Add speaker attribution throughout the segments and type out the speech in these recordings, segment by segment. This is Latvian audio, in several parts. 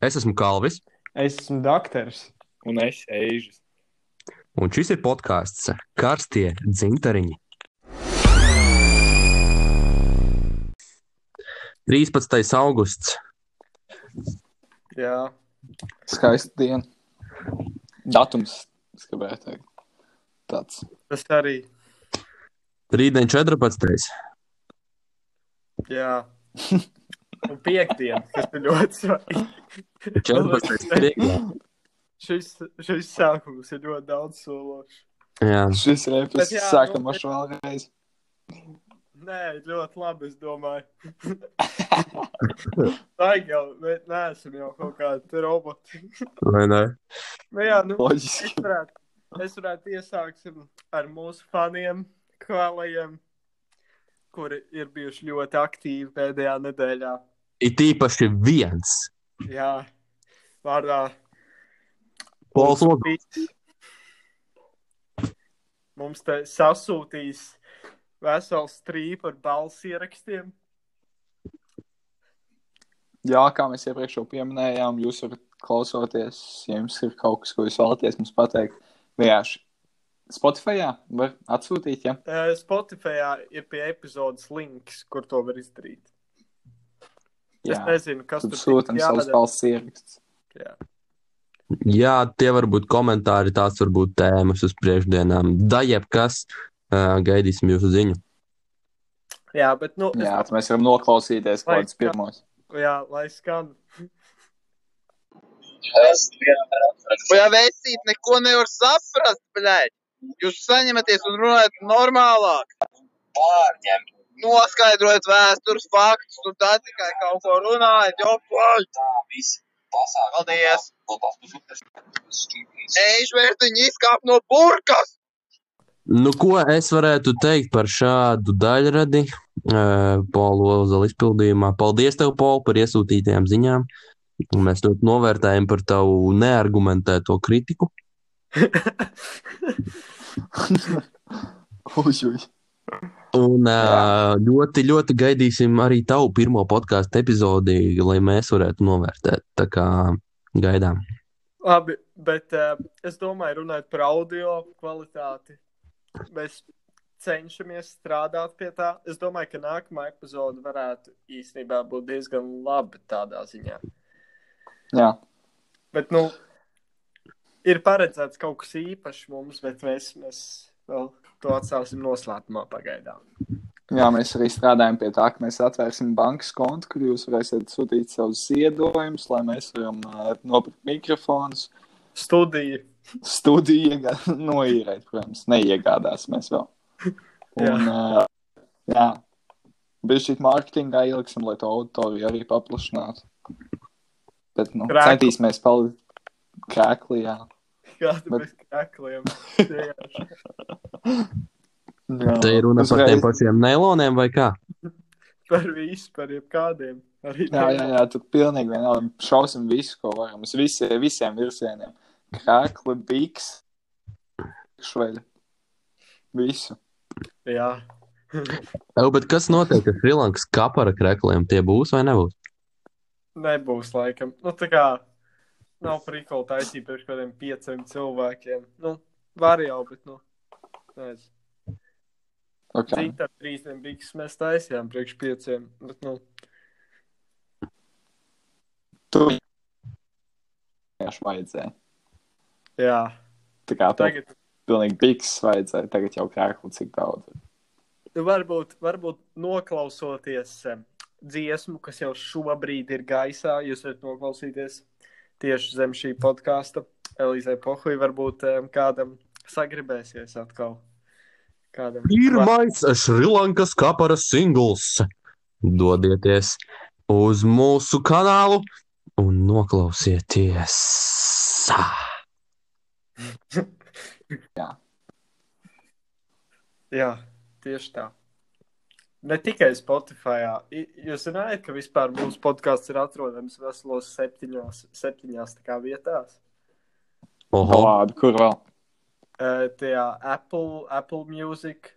Speaker 1: Es esmu Kalvis,
Speaker 2: Es esmu doktors.
Speaker 3: Un es eižu.
Speaker 1: un šis ir podkāsts Karstie dzintariņi. 13. augusts.
Speaker 3: Jā,
Speaker 4: Skaista diena. Datums, es gribēju teikt, tāds
Speaker 3: tas arī.
Speaker 1: Rītdien 14.
Speaker 3: Jā. Un piekdiena, kas ir ļoti svarīga.
Speaker 1: 14. priekšā.
Speaker 3: Šis, šis sākums ir ļoti daudz sološs.
Speaker 1: Jā,
Speaker 4: - šis reps,
Speaker 3: Bet jā,
Speaker 4: sākam
Speaker 3: nu,
Speaker 4: ar šo vēlreiz.
Speaker 3: Nē, ļoti labi, es domāju. Tā jau, mēs neesam jau kaut kādi roboti.
Speaker 1: vai ne?
Speaker 3: Nu jā, nu, es
Speaker 4: Loģiski.
Speaker 3: varētu, es varētu iesāksim ar mūsu faniem, kvalajiem, kuri ir bijuši ļoti aktīvi pēdējā nedēļā.
Speaker 1: It īpaši viens.
Speaker 3: Jā, vārdā
Speaker 1: Pols Lodovs.
Speaker 3: Viss. Mums te sasūtīs veselu strīpu ar balss ierakstiem.
Speaker 4: Jā, kā mēs iepriekš jau pieminējām, jūs varat klausoties, ja jums ir kaut kas, ko jūs vēlaties mums pateikt. Vienkārši Spotify var atsūtīt, ja
Speaker 3: Eh, Spotify ir pie epizodes links, kur to var izdarīt. Jā. Es
Speaker 4: jā.
Speaker 3: nezinu, kas
Speaker 4: Tad
Speaker 3: tur
Speaker 4: sūtam savus valsts ierakstus.
Speaker 1: Jā, tie var būt komentāri, tās var būt tēmas uz priekšdienām. Dajep, kas uh, gaidīsim jūsu ziņu.
Speaker 3: Jā, bet, nu,
Speaker 4: Jā, tad mēs varam noklausīties
Speaker 3: Vai-
Speaker 4: kaut kādus pirmos.
Speaker 3: Es, jā, lai skan.
Speaker 5: Jā, vēstīt, neko nevar saprast, blēģ. Jūs saņematies un runājat normālāk. Pārņem. Noskaidrojat vēstures faktus, un tā tikai kaut ko runājat. Jo, blēģ. Tā, viss. Paldies. Eižvērtiņi izkāp no burkas.
Speaker 1: Nu, ko es varētu teikt par šādu daļradi eh, Paula Ozola izpildījumā? Paldies, tev, Paul, par iesūtītajām ziņām. Mēs ļoti novērtējam par tavu neargumentēto kritiku.
Speaker 4: Ujuj.
Speaker 1: Un eh, ļoti, ļoti gaidīsim arī tavu pirmo podkāstu epizodi, lai mēs varētu novērtēt. Tā kā gaidām.
Speaker 3: Labi, bet uh, es domāju, runājot par audio kvalitāti, mēs cenšamies strādāt pie tā. Es domāju, ka nākamā epizode varētu īstenībā būt diezgan laba tādā ziņā.
Speaker 4: Jā,
Speaker 3: Bet, nu, ir paredzēts kaut kas īpašs mums, bet mēs, mēs vēl to atstāsim noslēpumā pagaidām.
Speaker 4: Jā, mēs arī strādājam pie tā, ka mēs atvērsim bankas kontu, kur jūs varēsiet sūtīt savus ziedojumus, lai mēs varam uh, nopirkt mikrofonus.
Speaker 3: Studija.
Speaker 4: Studiju iegā- noīrēt, protams, neiegādāsimies vēl. Un, uh, jā, bija šī mārketingā ieliksim, lai to auditoriju arī paplašinātu. Bet, nu,
Speaker 3: Krēkli.
Speaker 4: centīsimies palikt krēklī, jā.
Speaker 3: Kāda
Speaker 4: Bet-
Speaker 3: bez krākliem?
Speaker 4: jā.
Speaker 1: Te ir runa par
Speaker 4: uzreiz-
Speaker 1: tiem pašiem neiloniem vai kā?
Speaker 3: Par visu, par jebkādiem. Arī
Speaker 4: Jā, jā, jā, tur pilnīgi vienalga. Šausim visu, ko varam. Uz visi, visiem virzieniem. Krākli, biks, šveļi. Visu.
Speaker 3: jā.
Speaker 1: Ev, bet kas notiek ar Frilankas kapara krekliem? Tie būs vai nebūs?
Speaker 3: Nebūs laikam. Nu, tā kā nav prikola taisīt priekš kādiem pieciem cilvēkiem. Nu, var jau, bet, nu, nezinu.
Speaker 4: Okay.
Speaker 3: Cita trīsdien biks mēs taisījām priekš pieciem, bet, nu,
Speaker 4: Tur vienkārši vajadzēja.
Speaker 3: jā.
Speaker 4: Tā kā tev
Speaker 3: Tagad
Speaker 4: pilnīgi biks vajadzēja. Tagad jau krākli cik daudz. ir.
Speaker 3: Nu, Varbūt, varbūt noklausoties em, dziesmu, kas jau šobrīd ir gaisā, jūs varat noklausīties tieši zem šī podkāsta. Elīzai Pohuļai varbūt em, kādam sagribēsies atkal. Kādam
Speaker 1: Pirmais Šrilankas kaparas singls. Dodieties uz mūsu kanālu un noklausieties.
Speaker 3: Jā, tieši tā. Ne tikai Spotify. Jūs zinājāt, ka vispār mūsu podkāsts ir atrodams veselos septiņos, septiņās tā kā vietās.
Speaker 1: Oho,
Speaker 4: Lādi, kur vēl?
Speaker 3: Eh, Tajā Apple, Apple Music,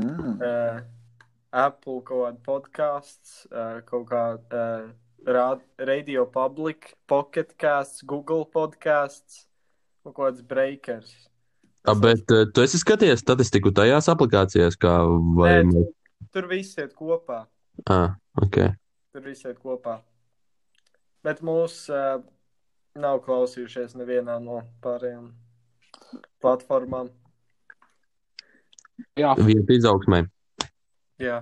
Speaker 4: Mm.
Speaker 3: uh, Apple kaut kāda podkāsts, uh, kaut kāda uh, Rād- Radio Public, Pocket Casts, Google podkāsts un kaut kāds breakers.
Speaker 1: A, bet eh, tu esi skatījies statistiku tajās aplikācijās, kā vai
Speaker 3: Nē,
Speaker 1: ne?
Speaker 3: tur, tur viss iet kopā.
Speaker 1: Ah, ok.
Speaker 3: Tur viss iet kopā. Bet mūs uh, nav klausījušies nevienā no pārējām platformām.
Speaker 4: Jā,
Speaker 1: Vieta izaugsmē.
Speaker 3: Jā.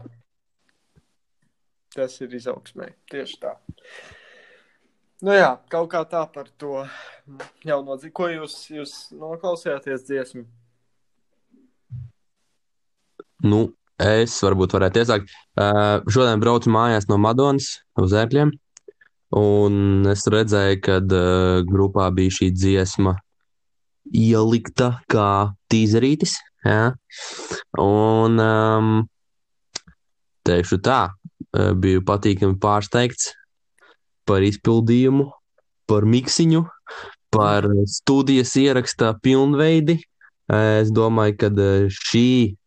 Speaker 3: Tas ir izaugsmē. Tieši tā. Nu jā, kaut kā tā par to jauno dzīvi. Ko jūs, jūs noklausījāties dziesmu?
Speaker 1: Nu, es varbūt varētu iesākt. Uh, šodien braucu mājās no Madonas uz ērkļiem. Un es redzēju, ka uh, grupā bija šī dziesma ielikta kā tīzerītis. Ja? Un um, teikšu tā, uh, biju patīkami pārsteigts par izpildījumu, par miksiņu, par studijas ierakstā pilnveidi. Es domāju, ka eh, šī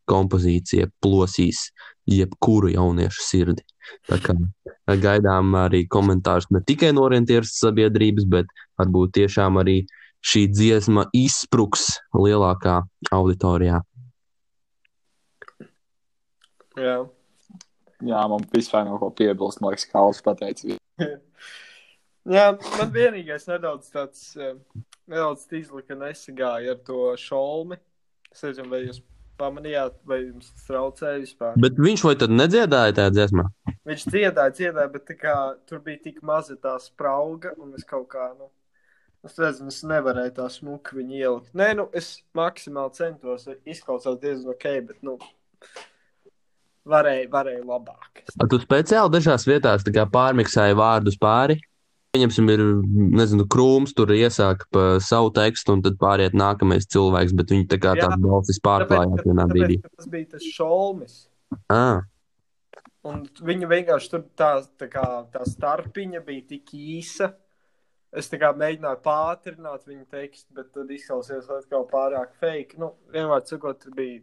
Speaker 1: kompozīcija plosīs jebkuru jauniešu sirdi. Tā kā eh, gaidām arī komentārus ne tikai no orientieras sabiedrības, bet varbūt tiešām arī šī dziesma izspruks lielākā auditorijā.
Speaker 3: Jā.
Speaker 4: jā, man vispār nav ko piebilst. Man liekas, ka Kalns pateica. visu.
Speaker 3: jā, man vienīgais nedaudz tāds, eh, nedaudz tīzli, ka nesagāja ar to šolmi. Es nezinu, vai jūs pamanījāt, vai jums tas traucēja vispār.
Speaker 1: Bet viņš vai tad nedziedāja tajā dziesmā?
Speaker 3: Viņš dziedāja, dziedāja, bet tā kā, tur bija tik maza tā sprauga, un es kaut kā, nu, es nezinu, es nevarēju tā smuki viņu ielikt. Nē, nu, es maksimāli centos, izklausās diezgan ok, bet, nu, varēju, varēju labāk.
Speaker 1: A, Tu speciāli dažās vietās tā kā pārmiksēji vārdus pāri. Viņam ir, nezinu, krūms, tur iesāk pa savu tekstu, un tad pāriet nākamais cilvēks, bet viņi tā kā
Speaker 3: Jā.
Speaker 1: tādas balsis pārklājās
Speaker 3: ka-
Speaker 1: vienā brīdī.
Speaker 3: tāpēc, ka tas bija tas šolmis,
Speaker 1: Ah,
Speaker 3: un viņa vienkārši tur tā, tā kā, tā starpiņa bija tik īsa. Es tā kā mēģināju pātrināt viņa tekstu, bet tad izklausījās atkal pārāk fake. Nu, vienmēr cikot, tur bija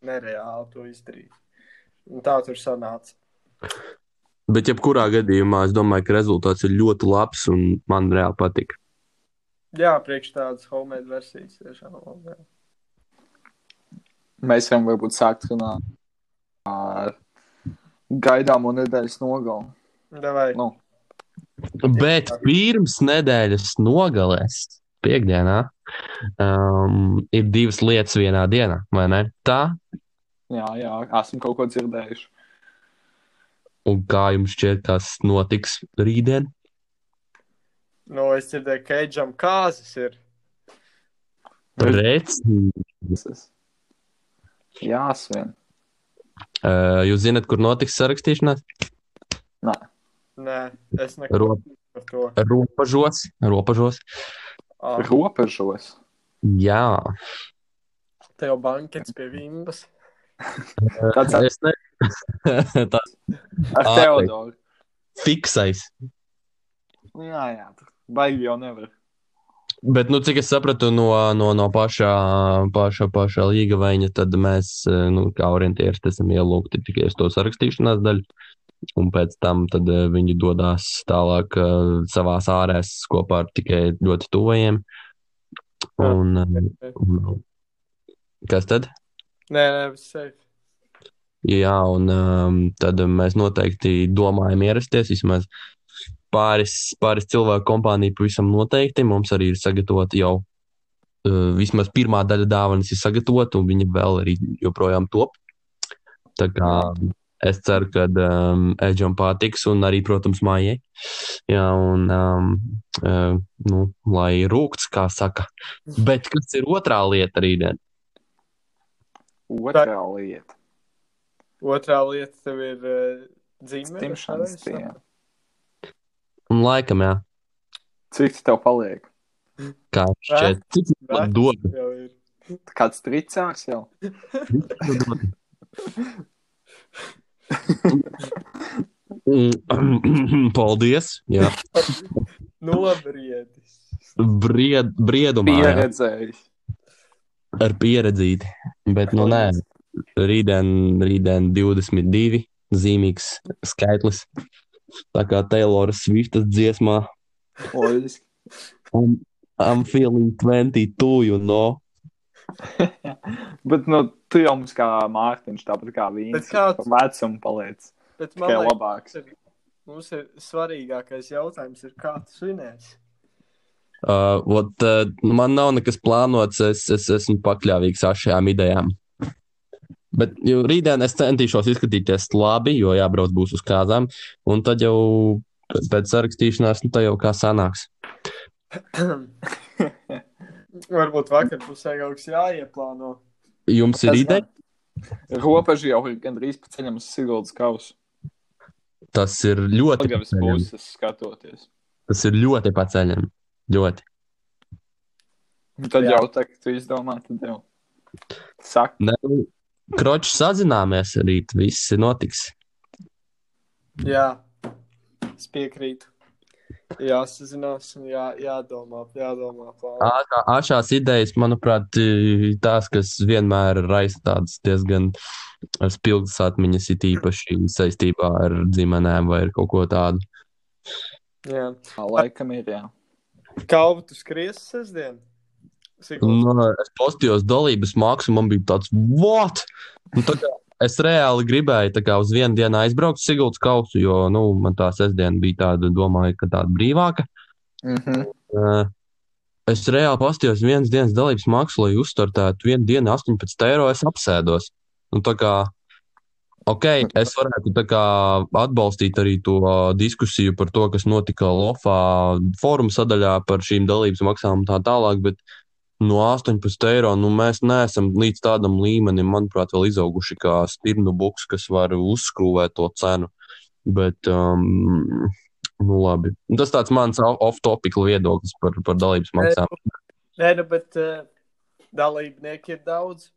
Speaker 3: nereāli to izdarīt. Un tā tur sanāca.
Speaker 1: bet, jebkurā gadījumā, es domāju, ka rezultāts ir ļoti labs, un man reāli patīk.
Speaker 3: Jā, priekš tādas homemade versijas tiešām labi. jā.
Speaker 4: Mēs varam varbūt sākt runāt ar gaidāmo nedēļas nogalu.
Speaker 3: Davai.
Speaker 4: Nu,
Speaker 1: Bet pirms nedēļas nogalēs, piekdienā, um, ir divas lietas vienā dienā, vai ne? Tā,
Speaker 4: jā, jā, esmu kaut ko dzirdējuši.
Speaker 1: un kā jums šķiet, tas notiks rītdien?
Speaker 3: Nu, es dzirdēju, ka Keidžam kāzas ir.
Speaker 1: Precīzi.
Speaker 4: Es- Jā, svin.
Speaker 1: Uh, jūs zināt, kur notiks sarakstīšanās?
Speaker 3: Nē, es neko
Speaker 1: Ro,
Speaker 3: par to.
Speaker 1: ropažos, ropažos.
Speaker 3: Ah,
Speaker 4: Robežos.
Speaker 1: Jā,
Speaker 3: tev bankets pie vimbas.
Speaker 4: Tāds ar,
Speaker 1: tas ir tāds
Speaker 4: ar
Speaker 1: Ā,
Speaker 4: Teodoru.
Speaker 1: fiksais.
Speaker 4: Nu, Jā, jā, tur baigi jau nevar.
Speaker 1: Bet, nu, cik es sapratu no, no, no pašā, pašā, pašā līga veņa, tad mēs, eh, nu, kā orientieris, esam ielūgti tikai uz to sarakstīšanās daļu. Un pēc tam tad, eh, viņi dodas tālāk eh, savās ārēs kopā ar tikai ļoti tuvajiem. Un, eh, un- kas tad?
Speaker 3: Nē, nē, viss safe.
Speaker 1: Jā, un um, tad mēs noteikti domājam ierasties. Vismaz pāris, pāris cilvēku kompānija pavisam noteikti. Mums arī ir sagatavota jau uh, vismaz pirmā daļa dāvanas ir sagatavota, un viņa vēl arī joprojām top. Tā kā es ceru, ka um, Edžam patiks, un arī, protams, mājai. Jā, un um, uh, nu, lai rūkts, kā saka. Bet kas ir otrā lieta rītdien?
Speaker 4: Otrā lieta.
Speaker 3: Otrā lieta tev ir uh, dzimta.
Speaker 4: Timšanas diena.
Speaker 1: Un laikam, jā,
Speaker 4: Cik tas tev paliek?
Speaker 1: kā šķiet, cik man dod?
Speaker 3: jau ir.
Speaker 4: Kāds tricārs jau?
Speaker 1: Mm, Paldies! Jā,
Speaker 3: Nu, Nobrietis.
Speaker 1: Bried, briedumā jā,
Speaker 4: Pieredzējis.
Speaker 1: ar pieredzīti. Bet, nu, nē, rītdien, rītdien 22, zīmīgs skaitlis. tā kā Taylora Swiftas dziesmā.
Speaker 4: Loģiski.
Speaker 1: I'm, I'm feeling 22, you know.
Speaker 4: Bet, nu, tu jau mums kā Mārtiņš, tāpat kā
Speaker 3: Bet
Speaker 4: viņš,
Speaker 3: kāds-
Speaker 4: kā vecuma paliec.
Speaker 3: Bet man
Speaker 4: Tikai
Speaker 3: liekas,
Speaker 4: labāks.
Speaker 3: mums ir svarīgākais jautājums, ir, kā tu svinēsi.
Speaker 1: Uh, what, uh, man nav nekas plānots, es, es esmu pakļāvīgs ar šajām idejām. Bet jau rītdien es centīšos izskatīties labi, jo jābrauc būs uz kāzām. Un tad jau p- pēc sarakstīšanās, nu tā jau kā sanāks.
Speaker 3: Varbūt vakar pusē kaut kas jāieplāno.
Speaker 1: Jums ir
Speaker 4: Tas
Speaker 1: ideja?
Speaker 4: Robeža jau ir gandrīz pa ceļam uz Siguldas kausu.
Speaker 1: Tas ir ļoti
Speaker 4: Pagavas
Speaker 1: paceļam.
Speaker 4: puses skatoties.
Speaker 1: Tas ir ļoti paceļam. Ļoti.
Speaker 4: Un Nu, Tad
Speaker 3: Jā.
Speaker 4: Jā. jau tā, ka tu izdomā, tad jau. Saka,
Speaker 1: Ne, Kročs sazināmies rīt, viss notiks.
Speaker 3: Jā, es piekrītu. Jā, sazinās, un jā, jādomā, jādomā. plāni.
Speaker 1: Ā- Āšās idejas, manuprāt, i- tās, kas vienmēr raisa tādas diezgan spilgtas atmiņas, ir īpaši saistībā ar dzimtenēm vai ar kaut ko tādu.
Speaker 3: Jā.
Speaker 4: tā laikam ir jā.
Speaker 3: Kalvu tu skriesi sestdien? Sigulda.
Speaker 1: Un, uh, es postījos dalības mākslu, man bija tāds, what? Un tā kā Es reāli gribēju tā kā uz vienu dienu aizbraukt uz Siguldas kausu, jo nu, man tā sestdiena bija tāda, domāju, ka tāda brīvāka.
Speaker 4: Mhm.
Speaker 1: Uh, Es reāli pastījos vienas dienas dalības mākslu, lai uzstartētu vienu dienu 18 eiro. Es apsēdos. Nu, tā kā, ok, es varētu tā kā, atbalstīt arī to ā, diskusiju par to, kas notika Lofā fóruma sadaļā par šīm dalības maksām un tā tālāk. Bet no 18 eiro nu, mēs neesam līdz tādam līmenim, manuprāt, vēl izauguši kā stirnu buks, kas var uzskrūvēt to cenu. Bet, um, Nu, labi. Un Tas tāds mans off-topic viedoklis par, par dalības maksām.
Speaker 3: Nē, nu, bet uh, dalībnieki ir daudz.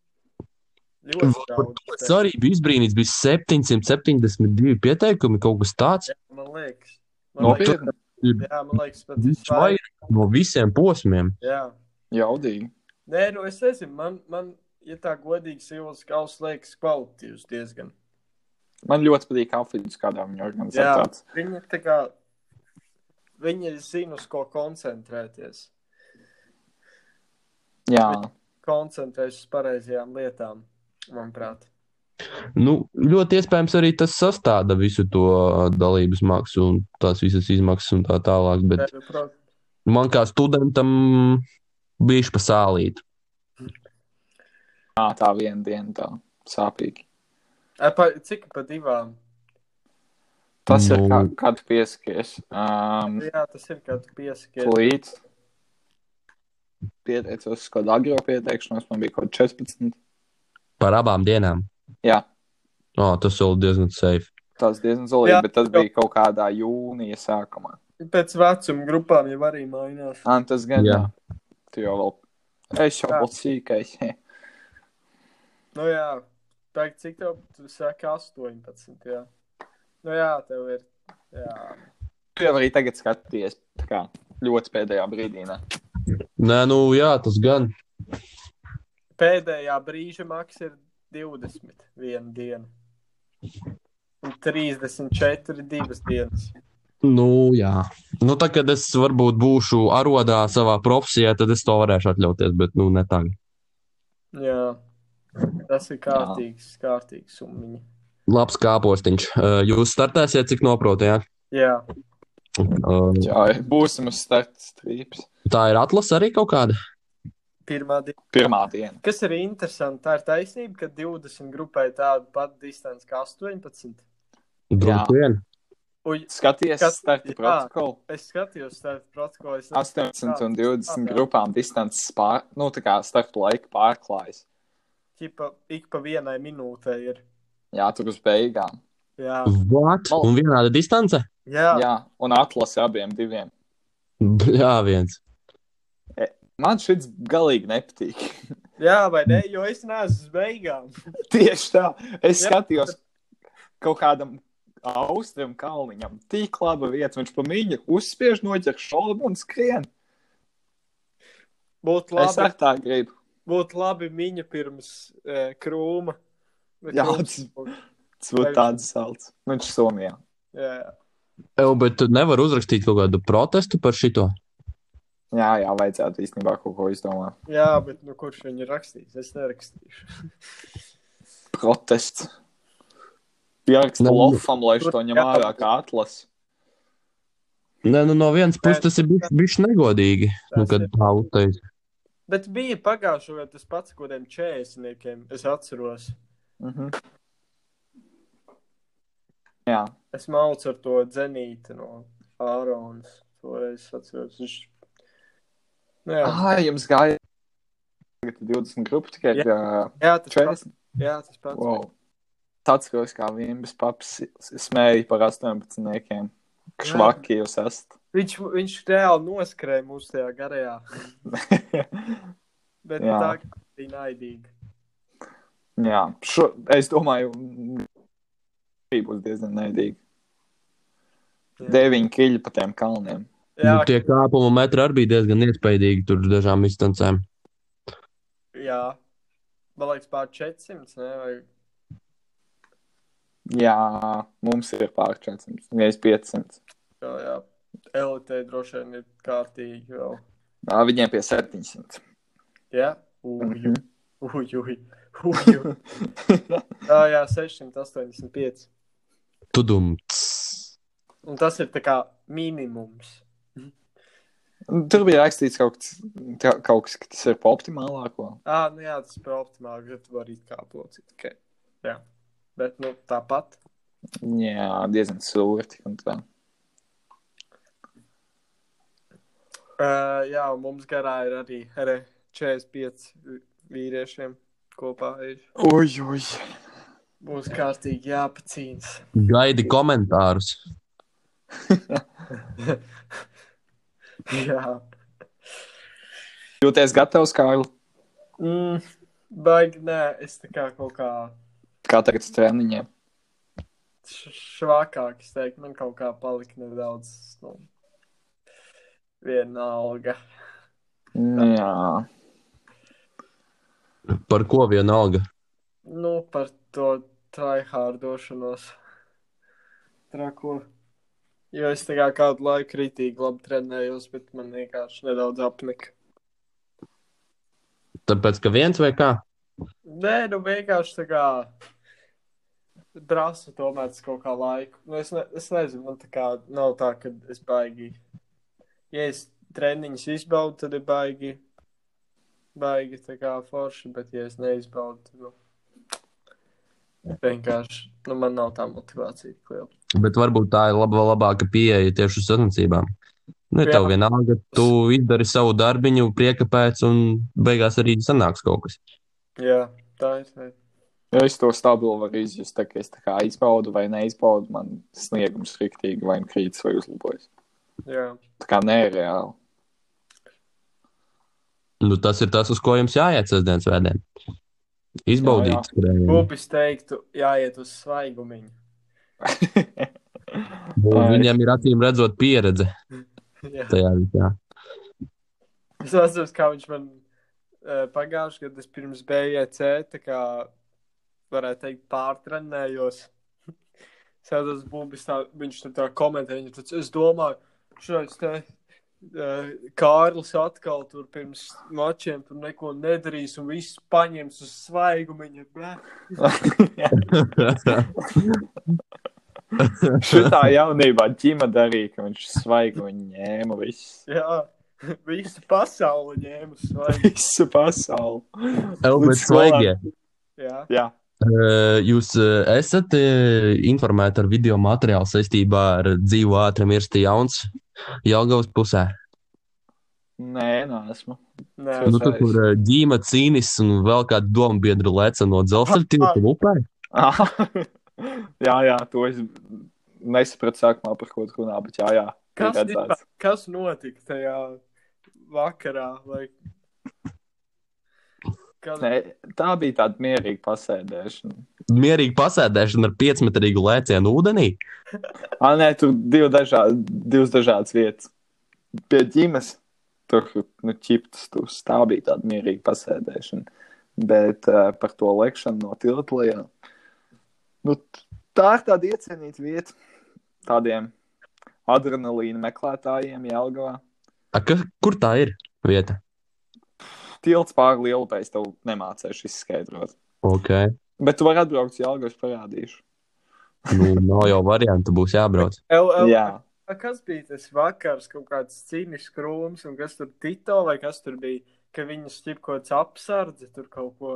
Speaker 3: Ļoti
Speaker 1: Par
Speaker 3: daudz.
Speaker 1: to es arī biju izbrīnīts. Bija 772 pieteikumi, kaut kas tāds.
Speaker 3: Jā, man liekas.
Speaker 4: Nu,
Speaker 1: Nu,
Speaker 3: Man liekas,
Speaker 4: Nopietni,
Speaker 3: jā, man liekas, bet
Speaker 1: Viņš
Speaker 3: viņš vajag.
Speaker 1: vairāk no visiem posmiem.
Speaker 3: Jā.
Speaker 4: jaudīgi.
Speaker 3: Nē, nu, es nezinu, man, man ja tā godīgi Siguldas kaus liekas kvalitīvs diezgan.
Speaker 4: Man ļoti patīk kafijas, kādā viņa organizē
Speaker 3: Jā.
Speaker 4: tāds.
Speaker 3: Viņa tā kā, viņa zina, uz ko koncentrēties.
Speaker 4: Jā,
Speaker 3: Koncentrēties uz pareizajām lietām, manuprāt.
Speaker 1: Nu, ļoti iespējams, arī tas sastāda visu to ā, dalības maksu un tās visas izmaksas un tā tālāk. Bet
Speaker 3: Nē, nu, protams.
Speaker 1: man kā studentam bija pasālīt.
Speaker 4: jā tā viena diena tā sāpīgi.
Speaker 3: Ai, pa, cik pa divām?
Speaker 4: Tas ir
Speaker 1: Nu.
Speaker 4: kā, kad pieskaries. Um,
Speaker 3: Nu, Jā, tas ir kāds pieskaņot.
Speaker 4: Līdz pieteicos uz kādu agro pieteikšanos, man bija kaut kāds 14.
Speaker 1: Par abām dienām.
Speaker 4: Jā,
Speaker 1: O, tas vēl diezgan safe.
Speaker 4: tas diezgan zelīgi,
Speaker 3: Jā.
Speaker 4: bet tas bija kaut kādā jūnija sākumā.
Speaker 3: Pēc vecuma grupām jau arī mainās.
Speaker 4: Ah, tas gan jā.
Speaker 1: Jā.
Speaker 4: Tu jau vēl. Es jau
Speaker 3: Jā.
Speaker 4: biju sīkais.
Speaker 3: Nu jā, tā kā cik tev, tu saki 18, jā. Nu jā, tev ir, jā.
Speaker 4: Tu jau arī tagad skaties tā kā, ļoti pēdējā brīdī. Ne?
Speaker 1: Nē, nu jā, tas gan.
Speaker 3: Pēdējā brīža maks ir 21 diena. Un 34 divas dienas.
Speaker 1: Nu, jā. Nu, tā, kad es varbūt būšu arodā savā profesijā, tad es to varēšu atļauties, bet nu ne tagad.
Speaker 3: Jā, tas ir kārtīgs, kārtīgs summiņa.
Speaker 1: Labs kāpostiņš. Uh, Jūs startēsiet, cik noprotu, jā?
Speaker 3: Jā,
Speaker 1: Uh,
Speaker 4: Jā, būsim uz starta strīpas.
Speaker 1: Tā ir atlase arī kaut kāda.
Speaker 3: pirmā diena.
Speaker 4: Pirmā diena.
Speaker 3: Kas ir interesanti, tā ir taisnība, ka 20 grupai tāda pati distance kā 18.
Speaker 1: Droši vien.
Speaker 3: Uj,
Speaker 4: Skaties,
Speaker 3: Kas-
Speaker 4: kas starta
Speaker 3: jā.
Speaker 4: protokolu.
Speaker 3: es skatījos starp protokolu. es-
Speaker 4: 18 un 20
Speaker 3: Jā.
Speaker 4: grupām distances pār, nu, tā kā starta laika pārklājas.
Speaker 3: Ķipa, ik pa vienai minūtei ir.
Speaker 4: Jā, tur uz beigām.
Speaker 3: Jā,
Speaker 1: What?
Speaker 4: Mal-
Speaker 1: Un vienāda distance?
Speaker 3: jā. jā.
Speaker 4: Jā, un atlasi abiem diviem.
Speaker 1: Jā, viens.
Speaker 4: Man šis galīgi nepatīk.
Speaker 3: jā vai ne? Jo es neesmu uz beigām.
Speaker 4: Tieši tā. Es
Speaker 3: Jā.
Speaker 4: skatījos kaut kādam austram kalniņam. Tik laba vieta, viņš pamīļa, uzspiež noķer šolbu un skrien.
Speaker 3: Būtu
Speaker 4: Labi. Es
Speaker 3: labi,
Speaker 4: ar tā gribu.
Speaker 3: būt labi miņa pirms e, krūma. Bet
Speaker 4: Jā,
Speaker 3: krūms-
Speaker 4: Tas būtu tāds salds. Viņš Somijā.
Speaker 3: jā.
Speaker 1: Evo, bet tu nevari uzrakstīt kaut kādu protestu par šito.
Speaker 4: Jā, jā, vajadzētu īstenībā kaut ko izdomāt.
Speaker 3: Jā, bet nu, kurš viņu rakstīs? Es nerakstīšu.
Speaker 4: Protests. Pierakstu
Speaker 1: Nu,
Speaker 4: lofam, lai šo ņem
Speaker 3: jā.
Speaker 4: ārā kā atlas.
Speaker 1: Nē, nu, no vienas puses tas ir bijis bišķi negodīgi. Nu,
Speaker 3: Tas
Speaker 1: kad
Speaker 3: ir.
Speaker 1: tā uztais.
Speaker 3: Bet bija pagājušā gada tas pats, kuriem 40 es atceros.
Speaker 4: Mhm. Jā,
Speaker 3: Es mācu ar to dzenīti no Ārons. Toreiz es atceros. Viņš... Nu, jā.
Speaker 4: ah, jums gāja tagad 20 grupu tikai
Speaker 3: Jā.
Speaker 4: jā.
Speaker 3: jā, tas pats.
Speaker 4: 40.
Speaker 3: Jā, tas pats.
Speaker 4: Wow. Tāds kā es kā vienbis paps smēju par 18. Švaki jūs esat.
Speaker 3: Viņš, viņš reāli noskrēja mūsu tajā garajā. Bet
Speaker 4: Jā.
Speaker 3: jā. tā bija naidīga.
Speaker 4: Jā, šo, es domāju, šī būs diezgan neidīga.
Speaker 3: Jā.
Speaker 4: Deviņi kiļi pa tiem kalniem.
Speaker 1: Nu,
Speaker 3: Jā,
Speaker 1: tie kāpuma metri arī bija diezgan iespaidīgi tur dažām distancēm.
Speaker 3: jā. man liekas, pār 400. Ne? Vai...
Speaker 4: Jā, mums ir pār 400, gandrīz 500.
Speaker 3: Jā, jā. Elitei droši vien ir kārtīgi vēl.
Speaker 4: Nā, viņiem pie 700.
Speaker 3: Jā, uju,
Speaker 4: Mhm.
Speaker 3: uju, uju. Tā jā, 685.
Speaker 1: Tudum.
Speaker 3: Un tas ir tā kā minimums.
Speaker 4: Nu, Tur bija rakstīts kaut kas, ka- kaut kas, ka tas ir pa optimālāko.
Speaker 3: Ah, nu jā, tas ir optimāli, ka tu vari it kā plūcīt. Okay. Jā, bet nu tāpat.
Speaker 4: Jā, diezgan sūrti. un tā.
Speaker 3: Uh, jā, un mums garā ir arī re, 45 vi- vīriešiem kopā. Ir.
Speaker 4: Ui, ui.
Speaker 3: Būs kārtīgi jāpacīnas.
Speaker 1: Gaidi komentārus.
Speaker 3: jā.
Speaker 4: Jūties gatavs, Kārl?
Speaker 3: Mm, baigi, nē, es tā kā kaut kā
Speaker 4: Kā tagad strēniņiem?
Speaker 3: š- švakāk, es teiktu, man kaut kā palika nedaudz, nu, vienalga.
Speaker 4: Jā.
Speaker 1: Par ko vienalga?
Speaker 3: Nu, par to tryhardošanos. Trako. Jo es tā kā kādu laiku kritīgi labi trenējos, bet man vienkārši nedaudz apnika.
Speaker 1: Tāpēc, ka viens vai kā?
Speaker 3: Nē, nu vienkārši tā kā prasa tomēr tas kaut kā laiku. Nu, es, ne, es nezinu, man tā kā nav tā, ka es baigi. Ja es treniņus izbaudu, tad ir baigi, baigi tā kā forši, bet ja es neizbaudu, tad nu, vienkārši nu, man nav tā motivācija tik liela.
Speaker 1: Bet varbūt tā ir laba, labāka pieeja tieši uz sacensībām. Nu,
Speaker 3: Jā.
Speaker 1: tev vienalga, tu izdari savu darbiņu, prieka pēc, un beigās arī sanāks kaut kas.
Speaker 3: Jā, tā ir. Tā ir.
Speaker 4: Ja es to stabilu varu izjust, tā ka es tā kā izbaudu vai neizbaudu, man sniegums riktīgi vai krītas vai uzlabojas.
Speaker 3: Jā.
Speaker 4: Tā kā nereāli.
Speaker 1: Nu, tas ir tas, uz ko jums jāiet sestdienas vēdēm. Izbaudīt
Speaker 4: Jā, jā.
Speaker 1: skrējienu.
Speaker 3: Kopis teiktu, jāiet uz svaigumiņu.
Speaker 1: Un Viņam ir acīm redzot pieredze
Speaker 3: Jā.
Speaker 1: tajā visā.
Speaker 3: Es atceros, kā viņš man eh, pagājušajā gadā, tas pirms BJC, tā kā varētu teikt, pārtrenējos. Sēdus būbis, tā, viņš tur tā komentē, viņš tāds, es domāju, šeit te eh, Kārlis atkal tur pirms mačiem tur neko nedarīs un viss paņems uz svaigumiņa. Bē.
Speaker 4: Šitā jaunībā ģima darīja, ka viņš svaigu un ņēma visu,
Speaker 3: Jā, visu pasauli ņēma uz svaigumiņa.
Speaker 4: visu pasauli.
Speaker 1: Elbert
Speaker 4: Līdz skolā.
Speaker 1: Svaigie,
Speaker 3: Jā.
Speaker 4: Jā,
Speaker 1: eh, jūs eh, esat eh, informēti ar video materiālu saistībā ar dzīvo ātri mirsti jauns Jelgavas pusē.
Speaker 4: nē, nē, esmu.
Speaker 3: Nē,
Speaker 1: Nu, tur, kur eh, ģīma cīnis un vēl kāda doma biedra leca no dzelzceļa tilta upē.
Speaker 4: Ah, jā, jā, to es nesapratu sākumā, par ko tu runā, bet jā, jā. ir
Speaker 3: Kas,
Speaker 4: redzēts.
Speaker 3: vispār- kas notika tajā vakarā? Vai... Kad...
Speaker 4: Nē, tā bija tāda mierīga pasēdēšana.
Speaker 1: Mierīgi pasēdēšana ar 5 metrīgu lēcienu ūdenī.
Speaker 4: Ah, nē, tur divi dažādi, divas dažādas vietas. Pie ģimenes tur nu, ķiptas, tur tā bija tāda mierīga pasēdēšana. Bet uh, par to lekšanu no tiltlajā. Nu, t- tā ir tāda iecienīta vieta tādiem adrenalīna meklētājiem Jēlgavā.
Speaker 1: A, ka, kur tā ir vieta?
Speaker 4: Tilts pāri lielai, es tev nemācīšu izskaidrot.
Speaker 1: Ok.
Speaker 4: Bet tu vari atbraukt uz Jēlgavu, es parādīšu.
Speaker 1: Nu, nav jau variantu, būs jābrauc.
Speaker 3: LL,
Speaker 4: Jā,
Speaker 3: Kas bija tas vakars, kaut kāds cīņas krūms, un kas tur bija Tito vai kas tur bija? Ka viņa stipkots apsardzi tur kaut ko.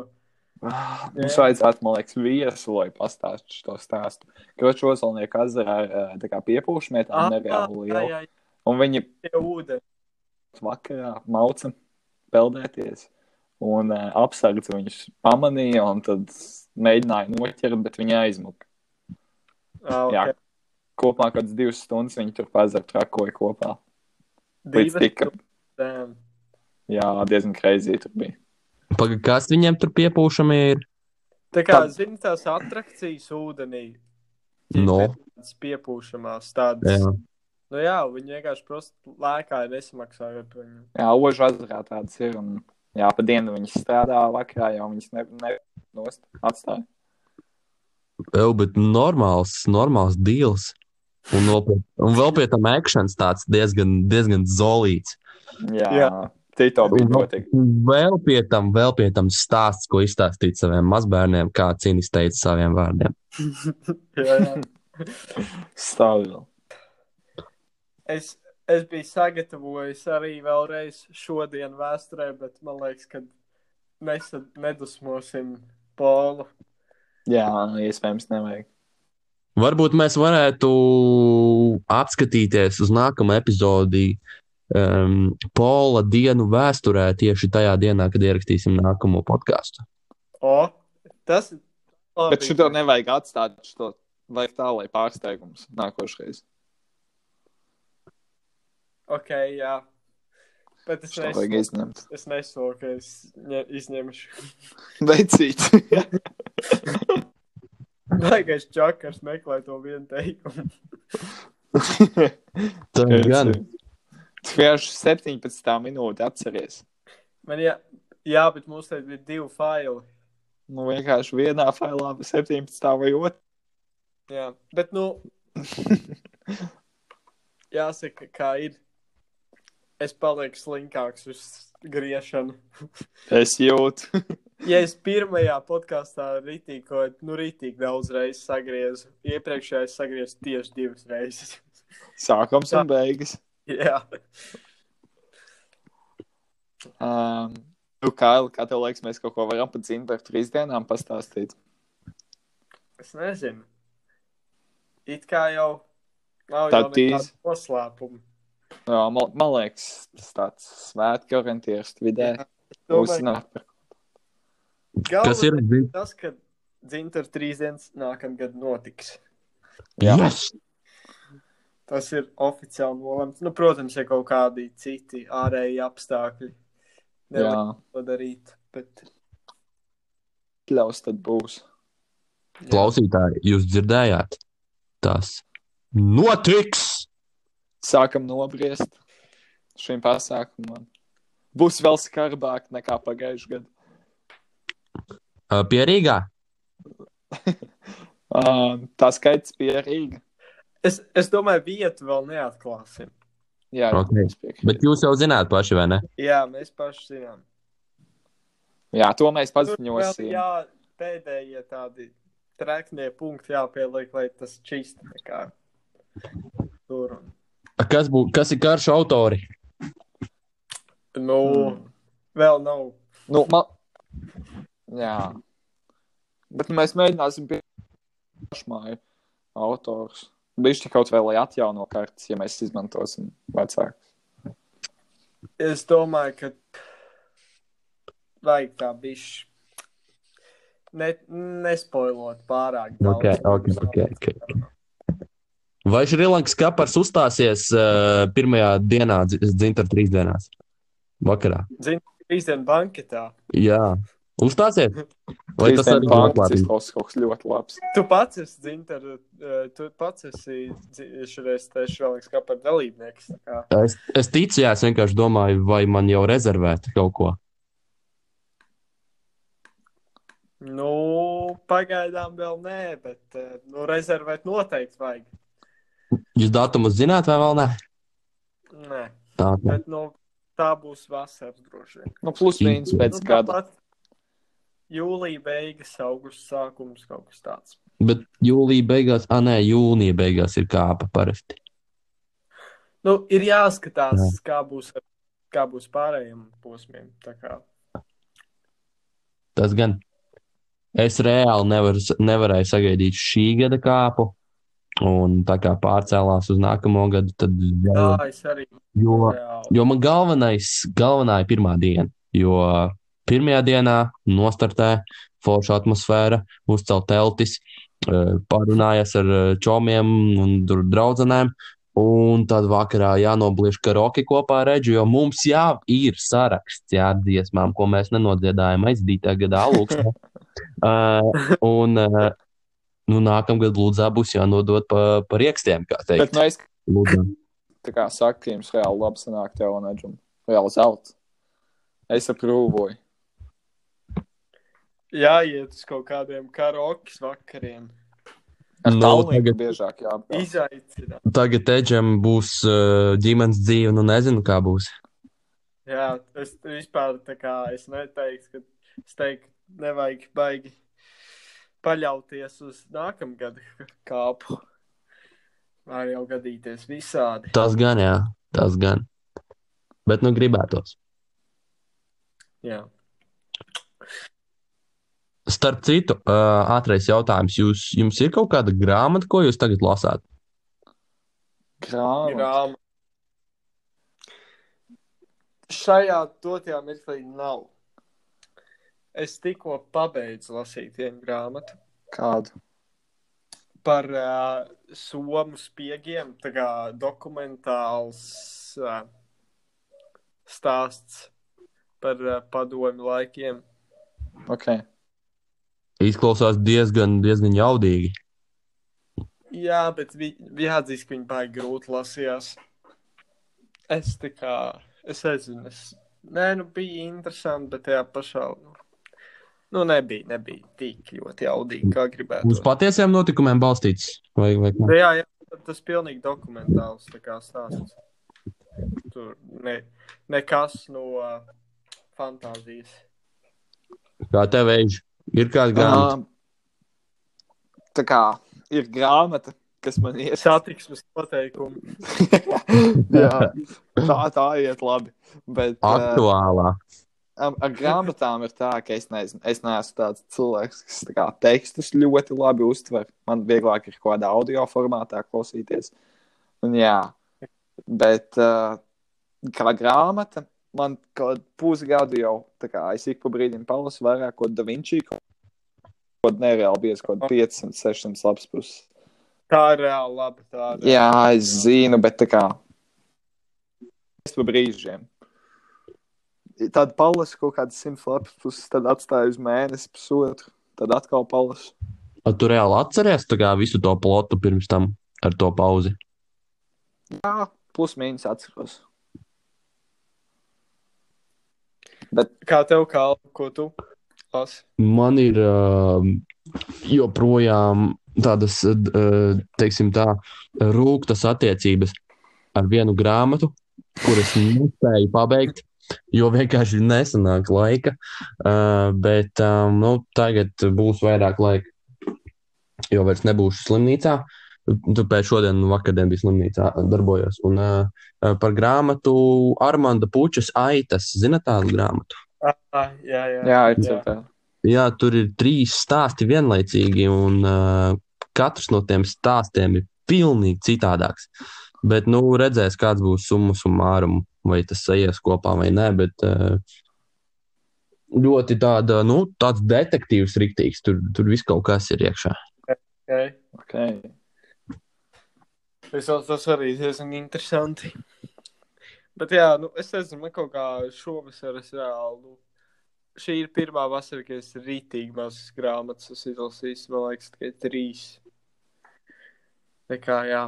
Speaker 4: Ah, mums vajadzētu, man liekas, viesu, lai pastāstītu šo stāstu. Kročosolnieku ezerā ir eh, tā kā piepūšmetā nereāli
Speaker 3: Ah, jā,
Speaker 4: liela.
Speaker 3: jā,
Speaker 4: Un viņi
Speaker 3: jā, ūdeni.
Speaker 4: vakarā mauca peldēties. Un uh, apsardz viņus pamanīja, un tad mēģināja noķert, bet viņi aizmuka.
Speaker 3: Ah,
Speaker 4: Okay. Jā,
Speaker 3: okay.
Speaker 4: kopumā kādas divas stundas viņi tur pazara trakoja kopā. Līdz
Speaker 3: Divas
Speaker 4: tika,
Speaker 3: stundām.
Speaker 4: jā, diezgan kreizī tur bija.
Speaker 1: Paga, kas viņiem tur piepūšamie ir?
Speaker 3: Tā kā, zini, tās atrakcijas ūdenī.
Speaker 1: No.
Speaker 3: Tādas piepūšamās tādas. Jā.
Speaker 1: Jā.
Speaker 3: Nu jā, viņi vienkārši prosti lēkāja nesamaksāja par viņu.
Speaker 4: Jā, ožu ezerā tāds ir, un jā, pa dienu viņi strādā, vakarā jau viņus ne, ne, nost atstāja.
Speaker 1: Jau, bet normāls, normāls deals. Un vēl pie, un vēl pie tam akcents tāds diezgan, diezgan zolīts.
Speaker 4: Jā, jā.
Speaker 3: Jā.
Speaker 4: Tito bija
Speaker 1: Un
Speaker 4: notiek.
Speaker 1: Vēl pie tam, vēl pie tam stāsts, ko izstāstīt saviem mazbērniem, kā cīnīs teica saviem vārdiem.
Speaker 3: jā, jā.
Speaker 4: Stāv vēl.
Speaker 3: Es, es biju sagatavojis arī vēlreiz šodien vēsturē, bet man liekas, ka mēs tad nedusmosim polu.
Speaker 4: Jā, iespējams, nevajag.
Speaker 1: Varbūt mēs varētu apskatīties uz nākamo epizodi um, Pola dienu vēsturē tieši tajā dienā, kad ierakstīsim nākamo podkāstu.
Speaker 3: O, tas ir.
Speaker 4: Bet šito nevajag atstāt, šito vajag tā, lai pārsteigums nākošais.
Speaker 3: Ok, jā. Bet es
Speaker 4: Šito vajag
Speaker 3: nesaku,
Speaker 4: izņemt.
Speaker 3: es nesaku, ka es ņe, izņemšu.
Speaker 4: Veicīt.
Speaker 3: Baigais čakars meklē to vienu teikumu.
Speaker 1: Tā ir gan.
Speaker 4: Tu vienkārši 17 minūti atceries.
Speaker 3: Man jā, jā, bet mums te bija divi faili.
Speaker 4: Nu, vienkārši vienā failā 17 vai 2.
Speaker 3: Jā, bet nu. Jāsaka, kā ir. Es palieku slinkāks uz griešanu.
Speaker 4: Es jūtu.
Speaker 3: Ja es pirmajā podkāstā rītīgi, ko nu rītīgi daudz reizes sagriezu, iepriekšējā es sagriezu tieši divas reizes.
Speaker 4: Sākums un beigas.
Speaker 3: Jā,
Speaker 4: Um, nu, Kail, kā tev liekas, mēs kaut ko varam par dzīvi par trīs dienām pastāstīt?
Speaker 3: es nezinu. It kā jau nav jau
Speaker 4: Tā
Speaker 3: nekāda
Speaker 4: tīz.
Speaker 3: noslēpuma.
Speaker 4: Jā, man, man liekas, tas tāds svētki orientieris vidē.
Speaker 3: Domāju,
Speaker 4: Uzzināt par
Speaker 1: Kas ir?
Speaker 3: galvenais ir Tas, ka dzimta trīs dienas nākamgad notiks.
Speaker 4: Jā.
Speaker 1: Yes!
Speaker 3: Tas ir oficiāli nolemts. Nu, protams, ir kaut kādi citi ārēji apstākļi. Nevar
Speaker 4: Jā,
Speaker 3: to darīt. Bet,
Speaker 4: pļaus tad būs.
Speaker 3: jā.
Speaker 1: Klausītāji, jūs dzirdējāt? Tas notiks!
Speaker 4: Sākam nobriest šim pasākumam. Būs vēl skarbāk nekā pagājušajā gadā.
Speaker 1: Uh, Pie Rīgā.
Speaker 4: Uh, tā skaits bija Rīga.
Speaker 3: Es, es domāju, vietu vēl neatklāsim.
Speaker 4: Jā, jā,
Speaker 1: Ok.
Speaker 4: es piekrītu.
Speaker 1: Bet jūs jau zināt paši, vai ne?
Speaker 3: Jā, mēs paši zinām.
Speaker 4: jā, to mēs
Speaker 3: Tur vēl
Speaker 4: paziņosim.
Speaker 3: jā, pēdējie tādi treknie punkti jāpieliek, lai tas čīst. tā kā Tur. un-
Speaker 1: Kas, bū, kas ir karš autori?
Speaker 3: Nu, mm. vēl nav.
Speaker 4: Nu, man... Jā, bet nu, mēs mēģināsim pie pašmāju autors. Bišķi kaut vai lai atjauno kartes, ja mēs izmantosim vecāku.
Speaker 3: Es domāju, ka vajag tā bišķi. Ne, nespoilot pārāk daudz.
Speaker 1: Ok, ok, ok, ok. Vai Šrilankas kapars uzstāsies uh, pirmajā dienā, dzimta trīs dienās? Vakarā.
Speaker 3: Trīs dienas banketā.
Speaker 1: Jā, uzstāsies. Vai tas arī ir
Speaker 4: pārklāts
Speaker 1: noklāts?
Speaker 4: izklausās kaut kas ļoti labs?
Speaker 3: Tu pats esi dzintars, tu pats esi dzi- šoreiz tieši vēl kā par dalībnieks. tā kā.
Speaker 1: Es, es ticu, jā, es vienkārši domāju, vai man jau rezervēt kaut ko.
Speaker 3: Nu, pagaidām vēl nē, bet eh, nu, rezervēt noteikti vajag.
Speaker 1: Jūs datumu zināt, vai vēl ne?
Speaker 3: Nē,
Speaker 1: Tā, tā.
Speaker 3: bet nu, tā būs vasaras droši vien.
Speaker 4: Nu, plus viens pēc
Speaker 3: Nu,
Speaker 4: gada.
Speaker 3: tāpat Jūlija beigas, augusta sākums, kaut kas tāds.
Speaker 1: Bet jūlijā beigās, ah, nē, jūnija beigās ir kāpa parasti.
Speaker 3: Nu, ir jāskatās, Jā. kā būs ar kā būs pārējiem posmiem. Tā kā
Speaker 1: Tas gan. Es reāli nevar, nevarēju sagaidīt šī gada kāpu. Un tā kā pārcēlās uz nākamo gadu, tad jau,
Speaker 3: tā es arī
Speaker 1: jo,
Speaker 3: reāli.
Speaker 1: jo man galvenais, galvenā ir pirmā diena. Jo pirmajā dienā nostartē forša atmosfēra, uzcelt teltis, eh, parunājies ar eh, čomiem un dr- draudzenēm. Un tad vakarā jānobliež karaoke kopā ar Reģu, jo mums jau ir saraksts ar dziesmām, ko mēs nenodziedājām aizdītā gada alūksnē. uh, un uh, nu, nākamgad Lūdzā būs jānodod pa, par iekstiem, kā
Speaker 4: Bet,
Speaker 1: teikt.
Speaker 4: nu, es
Speaker 1: Lūdzā.
Speaker 4: tā kā saku, jums reāli labi sanāk tev un Edžam. Reāli zelta. Es aprūvoju.
Speaker 3: Jāiet uz kaut kādiem karaoke vakariem.
Speaker 4: Ar
Speaker 1: Nu,
Speaker 4: no, Tallinku
Speaker 1: tagad-
Speaker 4: tagad... biežāk jāapgādā.
Speaker 3: Izaicināt.
Speaker 1: Tagad Eģem būs uh, ģimenes dzīve, nu nezinu, kā būs.
Speaker 3: Jā, es vispār tā kā es neteiktu, ka es teiktu, nevajag baigi paļauties uz nākamgada kāpu. Var jau gadīties visādi.
Speaker 1: Tas gan, jā, tas gan. Bet nu gribētos.
Speaker 3: Jā.
Speaker 1: Starp citu, uh, ātrais jautājums. Jūs, jums ir kaut kāda grāmata, ko jūs tagad lasāt?
Speaker 4: Grāmatā.
Speaker 3: grāmatu. Šajā dotajā mirklī nav. Es tikko pabeidzu lasīt vienu grāmatu
Speaker 4: Kādu?
Speaker 3: par uh, somu spiegiem. Tā kā dokumentāls uh, stāsts par uh, padomju laikiem.
Speaker 4: Ok.
Speaker 1: Izklausās diezgan, diezgan jaudīgi.
Speaker 3: Jā, bet vi, jāatzīst, ka viņi baigi grūti lasījās. Es tā kā, es nezinu, es. Nē, nu bija interesanti, bet tajā pašā. Nu, nu nebija, nebija tik ļoti jaudīgi, kā
Speaker 1: Uz
Speaker 3: gribētu.
Speaker 1: patiesiem notikumiem balstīts. Vai, vai kā?
Speaker 3: Jā, jā, tas pilnīgi dokumentāls tā kā stāsts. Tur ne, nekas no uh, fantāzijas.
Speaker 1: kā tev eģi? ir kāda grāmata?
Speaker 4: Ā, Um, Tā kā ir grāmata, kas man ir.
Speaker 3: Satiksmes noteikumi.
Speaker 4: Jā, tā, tā iet labi. Bet, ā,
Speaker 1: Aktuālā.
Speaker 4: Ar, ar grāmatām ir tā, ka es nezinu, es neesmu tāds cilvēks, kas tā kā, tekstus ļoti labi uztver. Man vieglāk ir kaut kādā audio formātā klausīties. Un, jā, bet uh, kā grāmata, man kaut pusgadu jau, tā kā es ik pa brīdim palasu vairāk ko Da Vinčī, kaut ko nereāli bijis, kaut kāda 500, 600 labs puses.
Speaker 3: Tā ir reāli laba. Tā ir
Speaker 4: Jā, es zinu, bet tā kā es pa brīžiem. Tad palasu kaut kādas simts lapas puses, tad atstāju uz mēnesi, pusotru, tad atkal palasu.
Speaker 1: A, Tu reāli atceries tā kā, visu to plotu pirms tam ar to pauzi.
Speaker 4: Jā, plus mīnus atceros. Bet
Speaker 3: Kā tev, kā, ko tu lasi?
Speaker 1: man ir uh, joprojām tādas, uh, teiksim, tā rūktas attiecības ar vienu grāmatu, kuras nespēju pabeigt, jo vienkārši nesanāk laika. Uh, bet um, nu, tagad būs vairāk laika, jo vairs nebūšu slimnīcā. Tāpēc šodien, un vakardien bija slimnīcā, darbojos. Un, uh, par grāmatu Armanda Pučas aitas, zinat, tādu grāmatu.
Speaker 3: Ah, jā, jā.
Speaker 4: jā, ir citādi.
Speaker 1: Jā, tur ir trīs stāsti vienlaicīgi, un uh, katrs no tiem stāstiem ir pilnīgi citādāks. Bet, nu, redzēs, kāds būs summa summārum, vai tas aizies kopā vai nē. Bet uh, ļoti tāda, nu, tāds detektīvs rīktīgs. Tur, tur viss kaut kas ir iekšā.
Speaker 3: Okay.
Speaker 4: Okay.
Speaker 3: Es jau tas arī diezgan interesanti. Bet, jā, nu, es nezinu, man kaut kā šovasar es reāli. Nu, šī ir pirmā vasara, kad es rītīgi mazas grāmatas esmu izlasījis. Man liekas, tikai trīs. Tā kā, jā.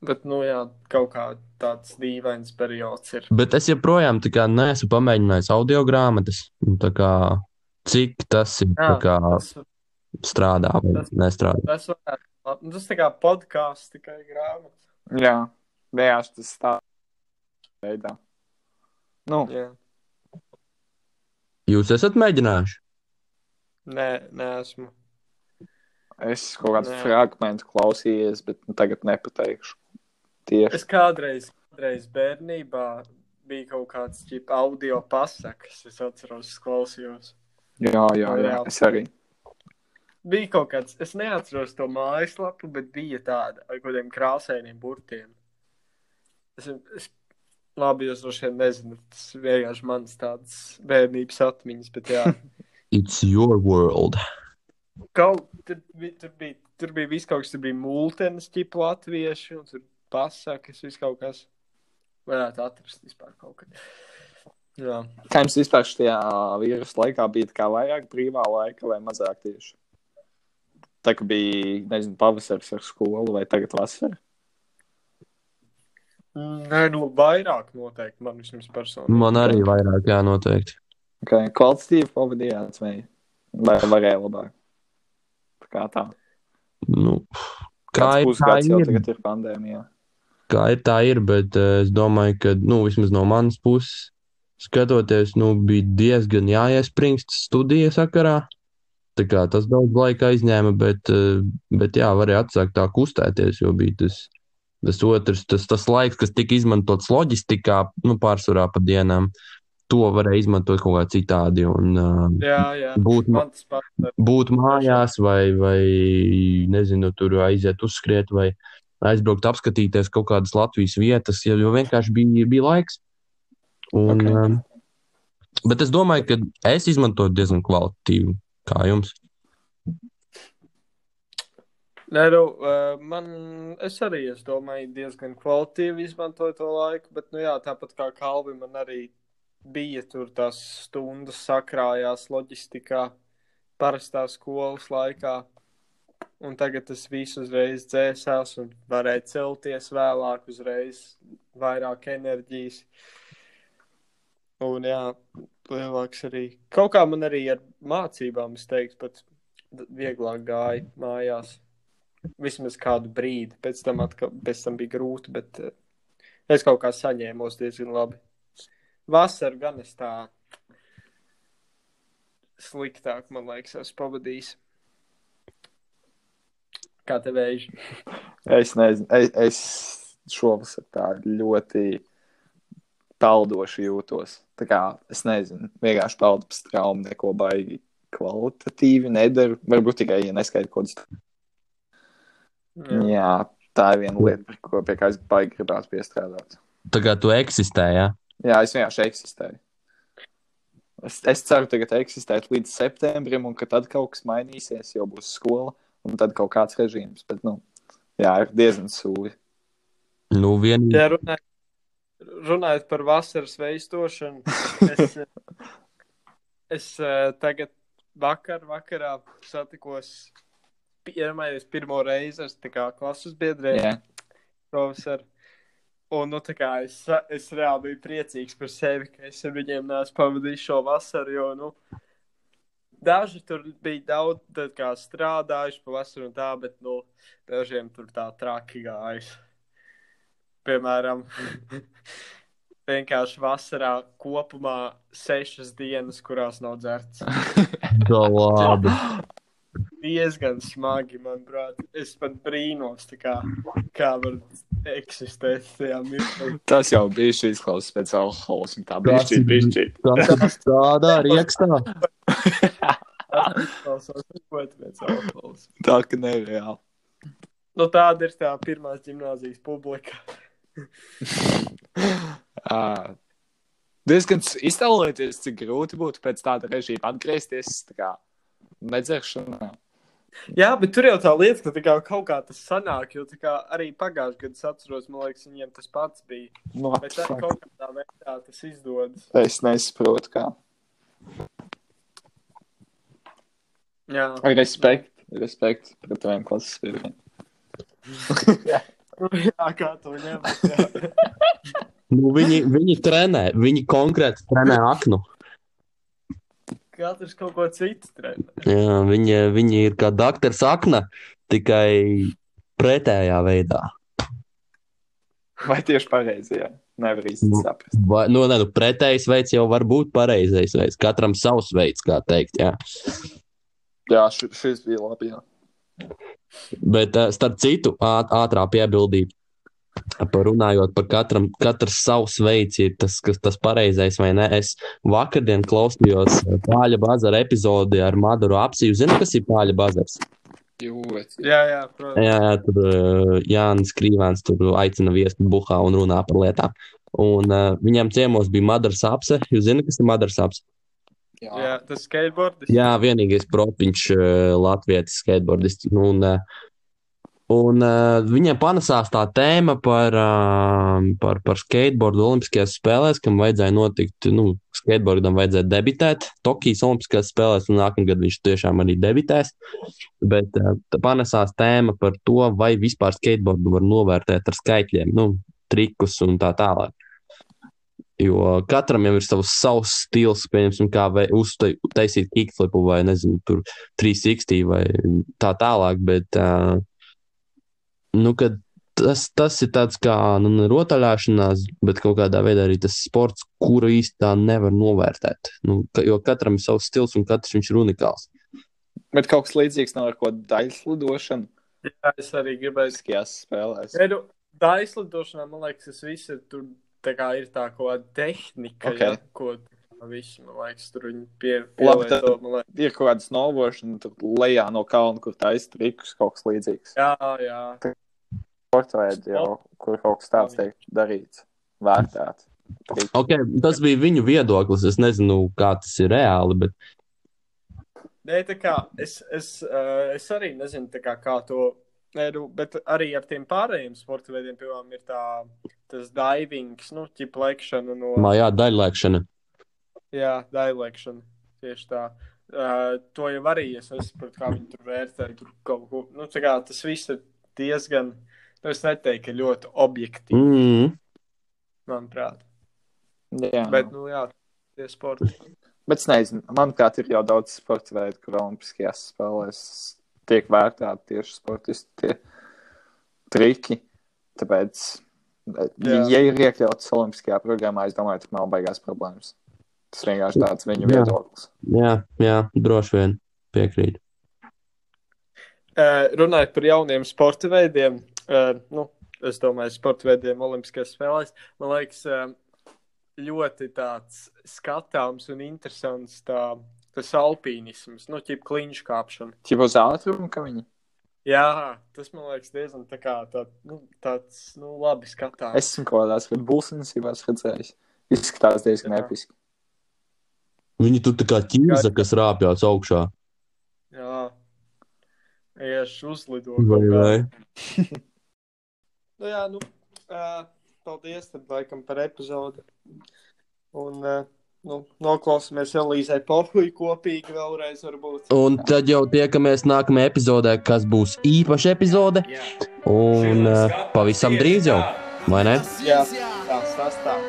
Speaker 3: Bet, nu, jā, kaut kā tāds dīvains periods ir.
Speaker 1: Bet es joprojām tā kā neesmu pamēģinājis audio grāmatas. Un tā kā, Cik tas ir
Speaker 3: Jā,
Speaker 1: tā kā,
Speaker 3: Tas,
Speaker 1: strādā vai
Speaker 3: Tas-
Speaker 1: nestrādā.
Speaker 3: Tas varētu būt labi. Nu, Tas tā kā podkāsts, tikai grāmata.
Speaker 4: Jā, vējās tas tā veidā. Nu,
Speaker 3: Jā.
Speaker 1: Jūs esat mēģinājuši?
Speaker 3: Nē, nē, esmu.
Speaker 4: es kaut kādu
Speaker 3: Jā.
Speaker 4: fragment klausījies, bet nu, tagad nepateikšu. Tieši.
Speaker 3: Es kādreiz, kādreiz bērnībā biju kaut kāds ģip, audio pasakas, es atceros, es klausījos.
Speaker 4: Jā, jā, jā,
Speaker 3: Jā.
Speaker 4: es arī.
Speaker 3: Bija kaut kāds, es neatceros to mājaslapu, bet bija tāda ar kaut kādiem krāsainiem burtiem. Es, es, labi, jūs droši vien nezināt, tas vienkārši manas tādas bērnības atmiņas, bet jā.
Speaker 1: It's your world.
Speaker 3: Kaut tur bija, tur bija, tur bija viss kaut kas, tur bija mūltenes, tipa latvieši, un tur pasakas, viss kaut kas. Varētu atrast vispār kaut kad. Jā,
Speaker 4: Kā jums vispār šajā vīrusu laikā bija tā kā vairāk brīvā laika vai mazāk tieši? Tā kā bija, nezinu, pavasaris ar skolu vai tagad vasara.
Speaker 3: nē, nu vairāk noteikti man vismaz personīgi.
Speaker 1: Man arī vairāk jānoteikti.
Speaker 4: Okay. Kvalitatīvi pavadījāt vai, vai varēja labāk? Tā kā tā.
Speaker 1: Nu, kā
Speaker 4: Kāds
Speaker 1: ir, kā
Speaker 4: pusgads jau
Speaker 1: ir,
Speaker 4: tagad ir pandēmijā?
Speaker 1: kā ir, tā ir, bet eh, es domāju, ka, nu, vismaz no manas puses, skatoties, nu, bija diezgan jāiespringst studiju sakarā. Tā kā tas daudz laika aizņēma, bet, eh, bet jā, varēja atsākt tā kustēties, jo bija tas, tas otrs, tas, tas laiks, kas tika izmantots loģistikā, nu, pārsvarā pa dienām, to varēja izmantot kaut kā citādi un eh,
Speaker 3: Jā, jā.
Speaker 1: būt
Speaker 3: Man tas patīk.
Speaker 1: būt mājās, vai, vai nezinu, tur aiziet uzskriet, vai aizbraukt, apskatīties kaut kādas Latvijas vietas, jo- jo vienkārši bija, bija laiks. Un,
Speaker 4: Ok.
Speaker 1: okay. Bet es domāju, ka es izmantoju diezgan kvalitatīvu, kā jums.
Speaker 3: Nē, nu, eh, man, es arī, es domāju, diezgan kvalitīvi izmantoju to laiku, bet, nu jā, tāpat kā Kalvi, man arī bija tur tās stundas sakrājās loģistikā, parastā skolas laikā, un tagad tas viss uzreiz dzēsās un varēja celties vēlāk uzreiz, vairāk enerģijas. Un jā, lielāks arī, kaut kā man arī ar mācībām, es teiktu, pat d- vieglāk gāja mājās vismaz kādu brīdi. Pēc tam, atka, pēc tam bija grūti, bet eh, es kaut kā saņēmos diezgan labi. Vasarā gan es tā sliktāk, man liekas, esmu pavadījis. Kā tev vējš?
Speaker 4: Es nezinu, es, es šovasar tā ļoti peldoši jūtos. Tā kā es nezinu, vienkārši peldu pa straumu, neko baigi kvalitatīvi nedaru. Varbūt tikai, ja neskaitu kaut ko. Jā, tā ir viena lieta, par ko pie kā es baigi gribētu piestrādāt.
Speaker 1: Tā kā tu eksistē, jā.
Speaker 4: Jā, es vienkārši eksistēju. Es, es ceru, ka tagad eksistēt līdz septembrim, un ka tad kaut kas mainīsies, jau būs skola, un tad kaut kāds režīms. Bet, nu, jā, ir diezgan sūdi.
Speaker 1: Nu, vien...
Speaker 3: Ja runājot, runājot par vasaras veidošanu, es, eh, es eh, tagad vakar, vakarā satikos iedomājos pirmo reizi ar tā kā, klases biedriem,
Speaker 4: Jā,
Speaker 3: profesoru. Un, nu, tā kā es, sa- es reāli biju priecīgs par sevi, ka es ar viņiem neesmu pavadījis šo vasaru, jo, nu, daži tur bija daudz, tad kā strādājuši pavasarī un tā, bet, nu, dažiem tur tā traki gājis. Piemēram, vienkārši vasarā kopumā sešas dienas, kurās nav dzerts.
Speaker 1: tā labi.
Speaker 3: Diezgan smagi, manuprāt. Es pat brīnos, tā kā, kā var eksistēt tajā mirklī.
Speaker 4: tas jau bija šīs klases pēc alkohola, un tā bija
Speaker 1: Tas
Speaker 4: šī
Speaker 1: ir-
Speaker 4: brīnišķīga.
Speaker 1: Tā strādā riekstā.
Speaker 3: Tas izklausās ļoti pēc alkohols.
Speaker 4: Tā ka nereāli.
Speaker 3: Nu, tāda ir tā pirmās gimnāzijas publika.
Speaker 4: Ā, Diezgan s- iztēloties, cik grūti būtu pēc tāda režīma atgriezties. Tā kā nedzeršanā.
Speaker 3: Jā, bet tur jau tā lieta, ka tā kā kaut kā tas sanāk, jo tā kā arī pagājušajā gadā es atceros, man liekas, viņiem tas pats bija.
Speaker 4: No,
Speaker 3: Bet tā kaut kādā veidā tas izdodas.
Speaker 4: es nesaprotu, kā.
Speaker 3: Jā,
Speaker 4: Respekt, respekt pret taviem klases biedriem.
Speaker 3: Nu, jā kā to ņemt. jā.
Speaker 1: Nu, viņi, viņi trenē, viņi konkrēti trenē aknu.
Speaker 3: Katrs kaut ko citu trenē.
Speaker 1: Jā, viņa, viņa ir kā doktora sakna, tikai pretējā veidā.
Speaker 4: Vai tieši pareizi, jā. Nevar īsti
Speaker 1: Nu.
Speaker 4: saprast.
Speaker 1: Vai, nu, ne, nu, pretējais veids jau var būt pareizais veids. Katram savs veids, kā teikt. Jā.
Speaker 4: Jā, ši- šis bija labi, jā.
Speaker 1: Bet, eh, starp citu, āt, ātrā piebildība. Par runājot par katram, katrs savs veids, ir tas, kas tas pareizais vai nē. Es vakardien klausījos eh, Pāļa Bazara epizodi ar Maduru apsiju. Zini, kas ir Pāļa Bazars?
Speaker 4: Jūvec.
Speaker 3: Jā, jā, protams.
Speaker 1: Jā, jā, tur eh, Jānis Krīvāns tur aicina viesti buhā un runā par lietām. Un uh, viņam ciemos bija Madars apse. Jūs zināt, kas ir Madars apse?
Speaker 4: Jā.
Speaker 3: Jā, tas skateboardis.
Speaker 1: Jā, vienīgais profiņš eh, Latvijas skateboardists. Nu, un, eh, un eh, viņam panācās tā tēma par, eh, par, par skateboardu Olimpiskajās spēlēs, kam vajadzēja notikt, nu, skateboardam vajadzēja debitēt Tokijas Olimpiskajās spēlēs, un nākamgad viņš tiešām arī debitēs. Bet eh, tā panācās tēma par to, vai vispār skateboardu var novērtēt ar skaitļiem, nu, trikus un tā tālāk. Jo katram jau ir savs, savs stils, piemēram, kā vei- uztai- uztaisīt kickflipu vai nezinu, tur 360 vai tā tālāk. Bet, uh, nu, kad tas, tas ir tāds kā nu, ne rotaļāšanās, bet kaut kādā veidā arī tas sports, kuru īstā nevar novērtēt. Nu, ka, jo katram ir savs stils un katrs viņš ir unikāls.
Speaker 4: Bet kaut kas līdzīgs nav ar ko daļslidošanu.
Speaker 3: Jā, es arī gribēju
Speaker 4: Skajās spēlēs.
Speaker 3: Nē, nu, tā izlidošanā, man liekas, tas viss ir tur. Tā kā ir tā kā tehnika,
Speaker 4: Ok.
Speaker 3: okay. ja, ko tā visi, man liekas, tur viņi pie,
Speaker 4: Labi,
Speaker 3: pielieto.
Speaker 4: tad-
Speaker 3: man liekas.
Speaker 4: Ir kaut kāda snowboardšana, tur lejā no kalna, kur taisa trikus, kaut kas līdzīgs.
Speaker 3: Jā, jā.
Speaker 4: Sports veids jau, kur kaut kas tāds tiek darīts, vērtēts. Triks.
Speaker 1: Okay, tas bija viņu viedoklis. Es nezinu, kā tas ir reāli, bet
Speaker 3: Nē, tā kā es, es, uh, es arī nezinu, tā kā, kā to. Nē, nu, bet arī ar tiem pārējiem sporta veidiem, piemēram, ir tā, tas divings, nu, ķiplēkšana no.
Speaker 1: mājā daļlēkšana.
Speaker 3: Jā, dialekšana. Tieši tā. Uh, to jau arī es nesaprotu, kā viņi tur vērtē. Tur kaut ko. Nu, tā kā tas viss ir diezgan. Nu, es neteiktu, ka ļoti objektīvi,
Speaker 1: Mm.
Speaker 3: manuprāt.
Speaker 4: Jā,
Speaker 3: Bet, nu, jā, tie sporta.
Speaker 4: Bet es nezinu, manuprāt, ir jau daudz sporta veidu, kur Olimpiskajās spēlēs tiek vērtēti tieši sportisti tie triki. Tāpēc,
Speaker 3: Jā.
Speaker 4: Jā. ja ir iekļauts Olimpiskajā programmā, es domāju, ka nav baigās problēmas. Tas vienkārši tāds
Speaker 1: Jā.
Speaker 4: viņu viedoklis.
Speaker 1: Jā, jā, droši vien piekrītu.
Speaker 3: Uh, runājot par jauniem sporta veidiem, uh, nu, es domāju, sporta veidiem Olimpiskajās spēlēs, man liekas, uh, ļoti tāds skatāms un interesants tā, tas alpīnisms, nu, ķip kliņš kāpšana.
Speaker 4: Ķip uz ātrumu, ka viņi.
Speaker 3: Jā, tas man liekas diezgan tā kā, tā, nu, tāds nu, labi skatās.
Speaker 4: Es esmu kaut kādās bulsensībās redzējis. Izskatās diezgan
Speaker 3: Jā.
Speaker 4: episki.
Speaker 1: Viņi tur tā kā ķīza, kas rāpjas augšā.
Speaker 3: Jā, iešu uzlidoju.
Speaker 1: Vai, vai.
Speaker 3: Nu, jā, nu, ā, paldies tad laikam par epizodi. Un, ā, nu, noklausīsimies Elīzai Pohuju kopīgi vēlreiz varbūt.
Speaker 1: Un tad jau tiekamies nākamajā epizodē, kas būs īpaša epizode.
Speaker 3: Jā,
Speaker 1: Un eh, pavisam drīz jau, vai ne?
Speaker 3: jā, tā sastāv.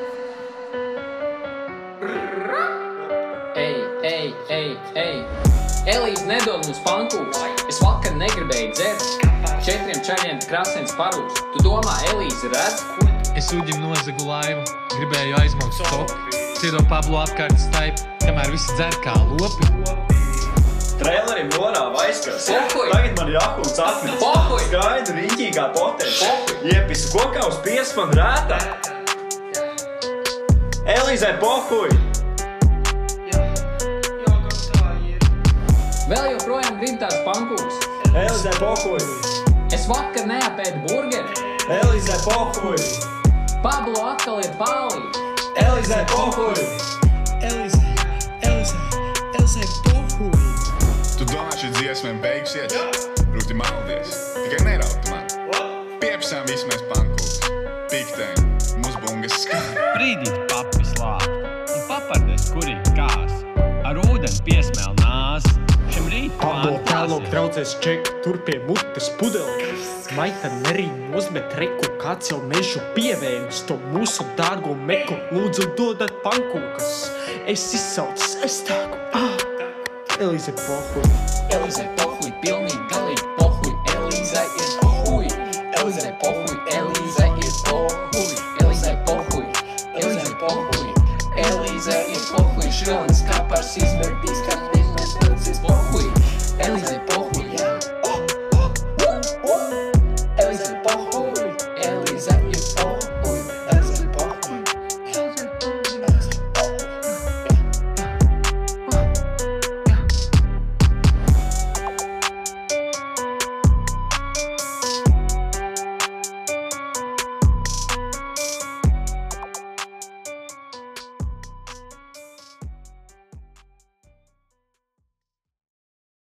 Speaker 6: Ej, ej, ej, ej. Elīze nedod mums pankūks. Es vakar negribēju dzert. Četriem čaļiem krāsens parūks. Tu domā, Elīze redz?
Speaker 7: Es uģim nozagu laivu, gribēju aizbraukt uz topu. Ciedo Pablo apkārt staipu, kamēr visi dzer kā lopi.
Speaker 8: Trailerim norāda aizskars.
Speaker 6: Pohuj!
Speaker 8: Tagad man jākums atmiņā.
Speaker 6: Pohuj!
Speaker 8: Gaidu riņķīgā potē.
Speaker 6: Pohuj!
Speaker 8: Iepis kokā uz pies man rētā. Elīzai pohuj!
Speaker 6: Vēl joprojām grib tās pankūks.
Speaker 8: Elīzai pohuj!
Speaker 6: Es vakar neapēdu burgeri.
Speaker 8: Elīzai pohuj!
Speaker 6: Pablo atkal ir pālī.
Speaker 8: Elīzai pohuj!
Speaker 9: Elise, Elise, Elise, pohuj!
Speaker 10: Tu domā, šī dziesma ir beigusies? Rūti maldies, tikai neraut man. Piepsām vismaz pankūks, piktēm, musbungas skan.
Speaker 7: Brīdī papis lāp un papardes kurī kās. Ar ūdeni piesmēl nās. Šim
Speaker 2: Pablo
Speaker 7: rītam
Speaker 2: tālāk traucēs ček, tur pie mutes pudeli. Maita nerīna nozmet reku, kāds jau mežu pievēns, to mūsu dārgo meku. Lūdzu, dodat pankūkas, es izsaucu sestāku. Ah! Elīze pohuj.
Speaker 6: Elīzai pohuj, pilnīgi galīgi pohuj, Elīzai ir pohuj. Elīzai pohuj, Elīzai ir pohuj, Elīzai pohuj, Elīzai pohuj, Elīzai ir pohuj, šrilins kapars izvērtīs, kad ne.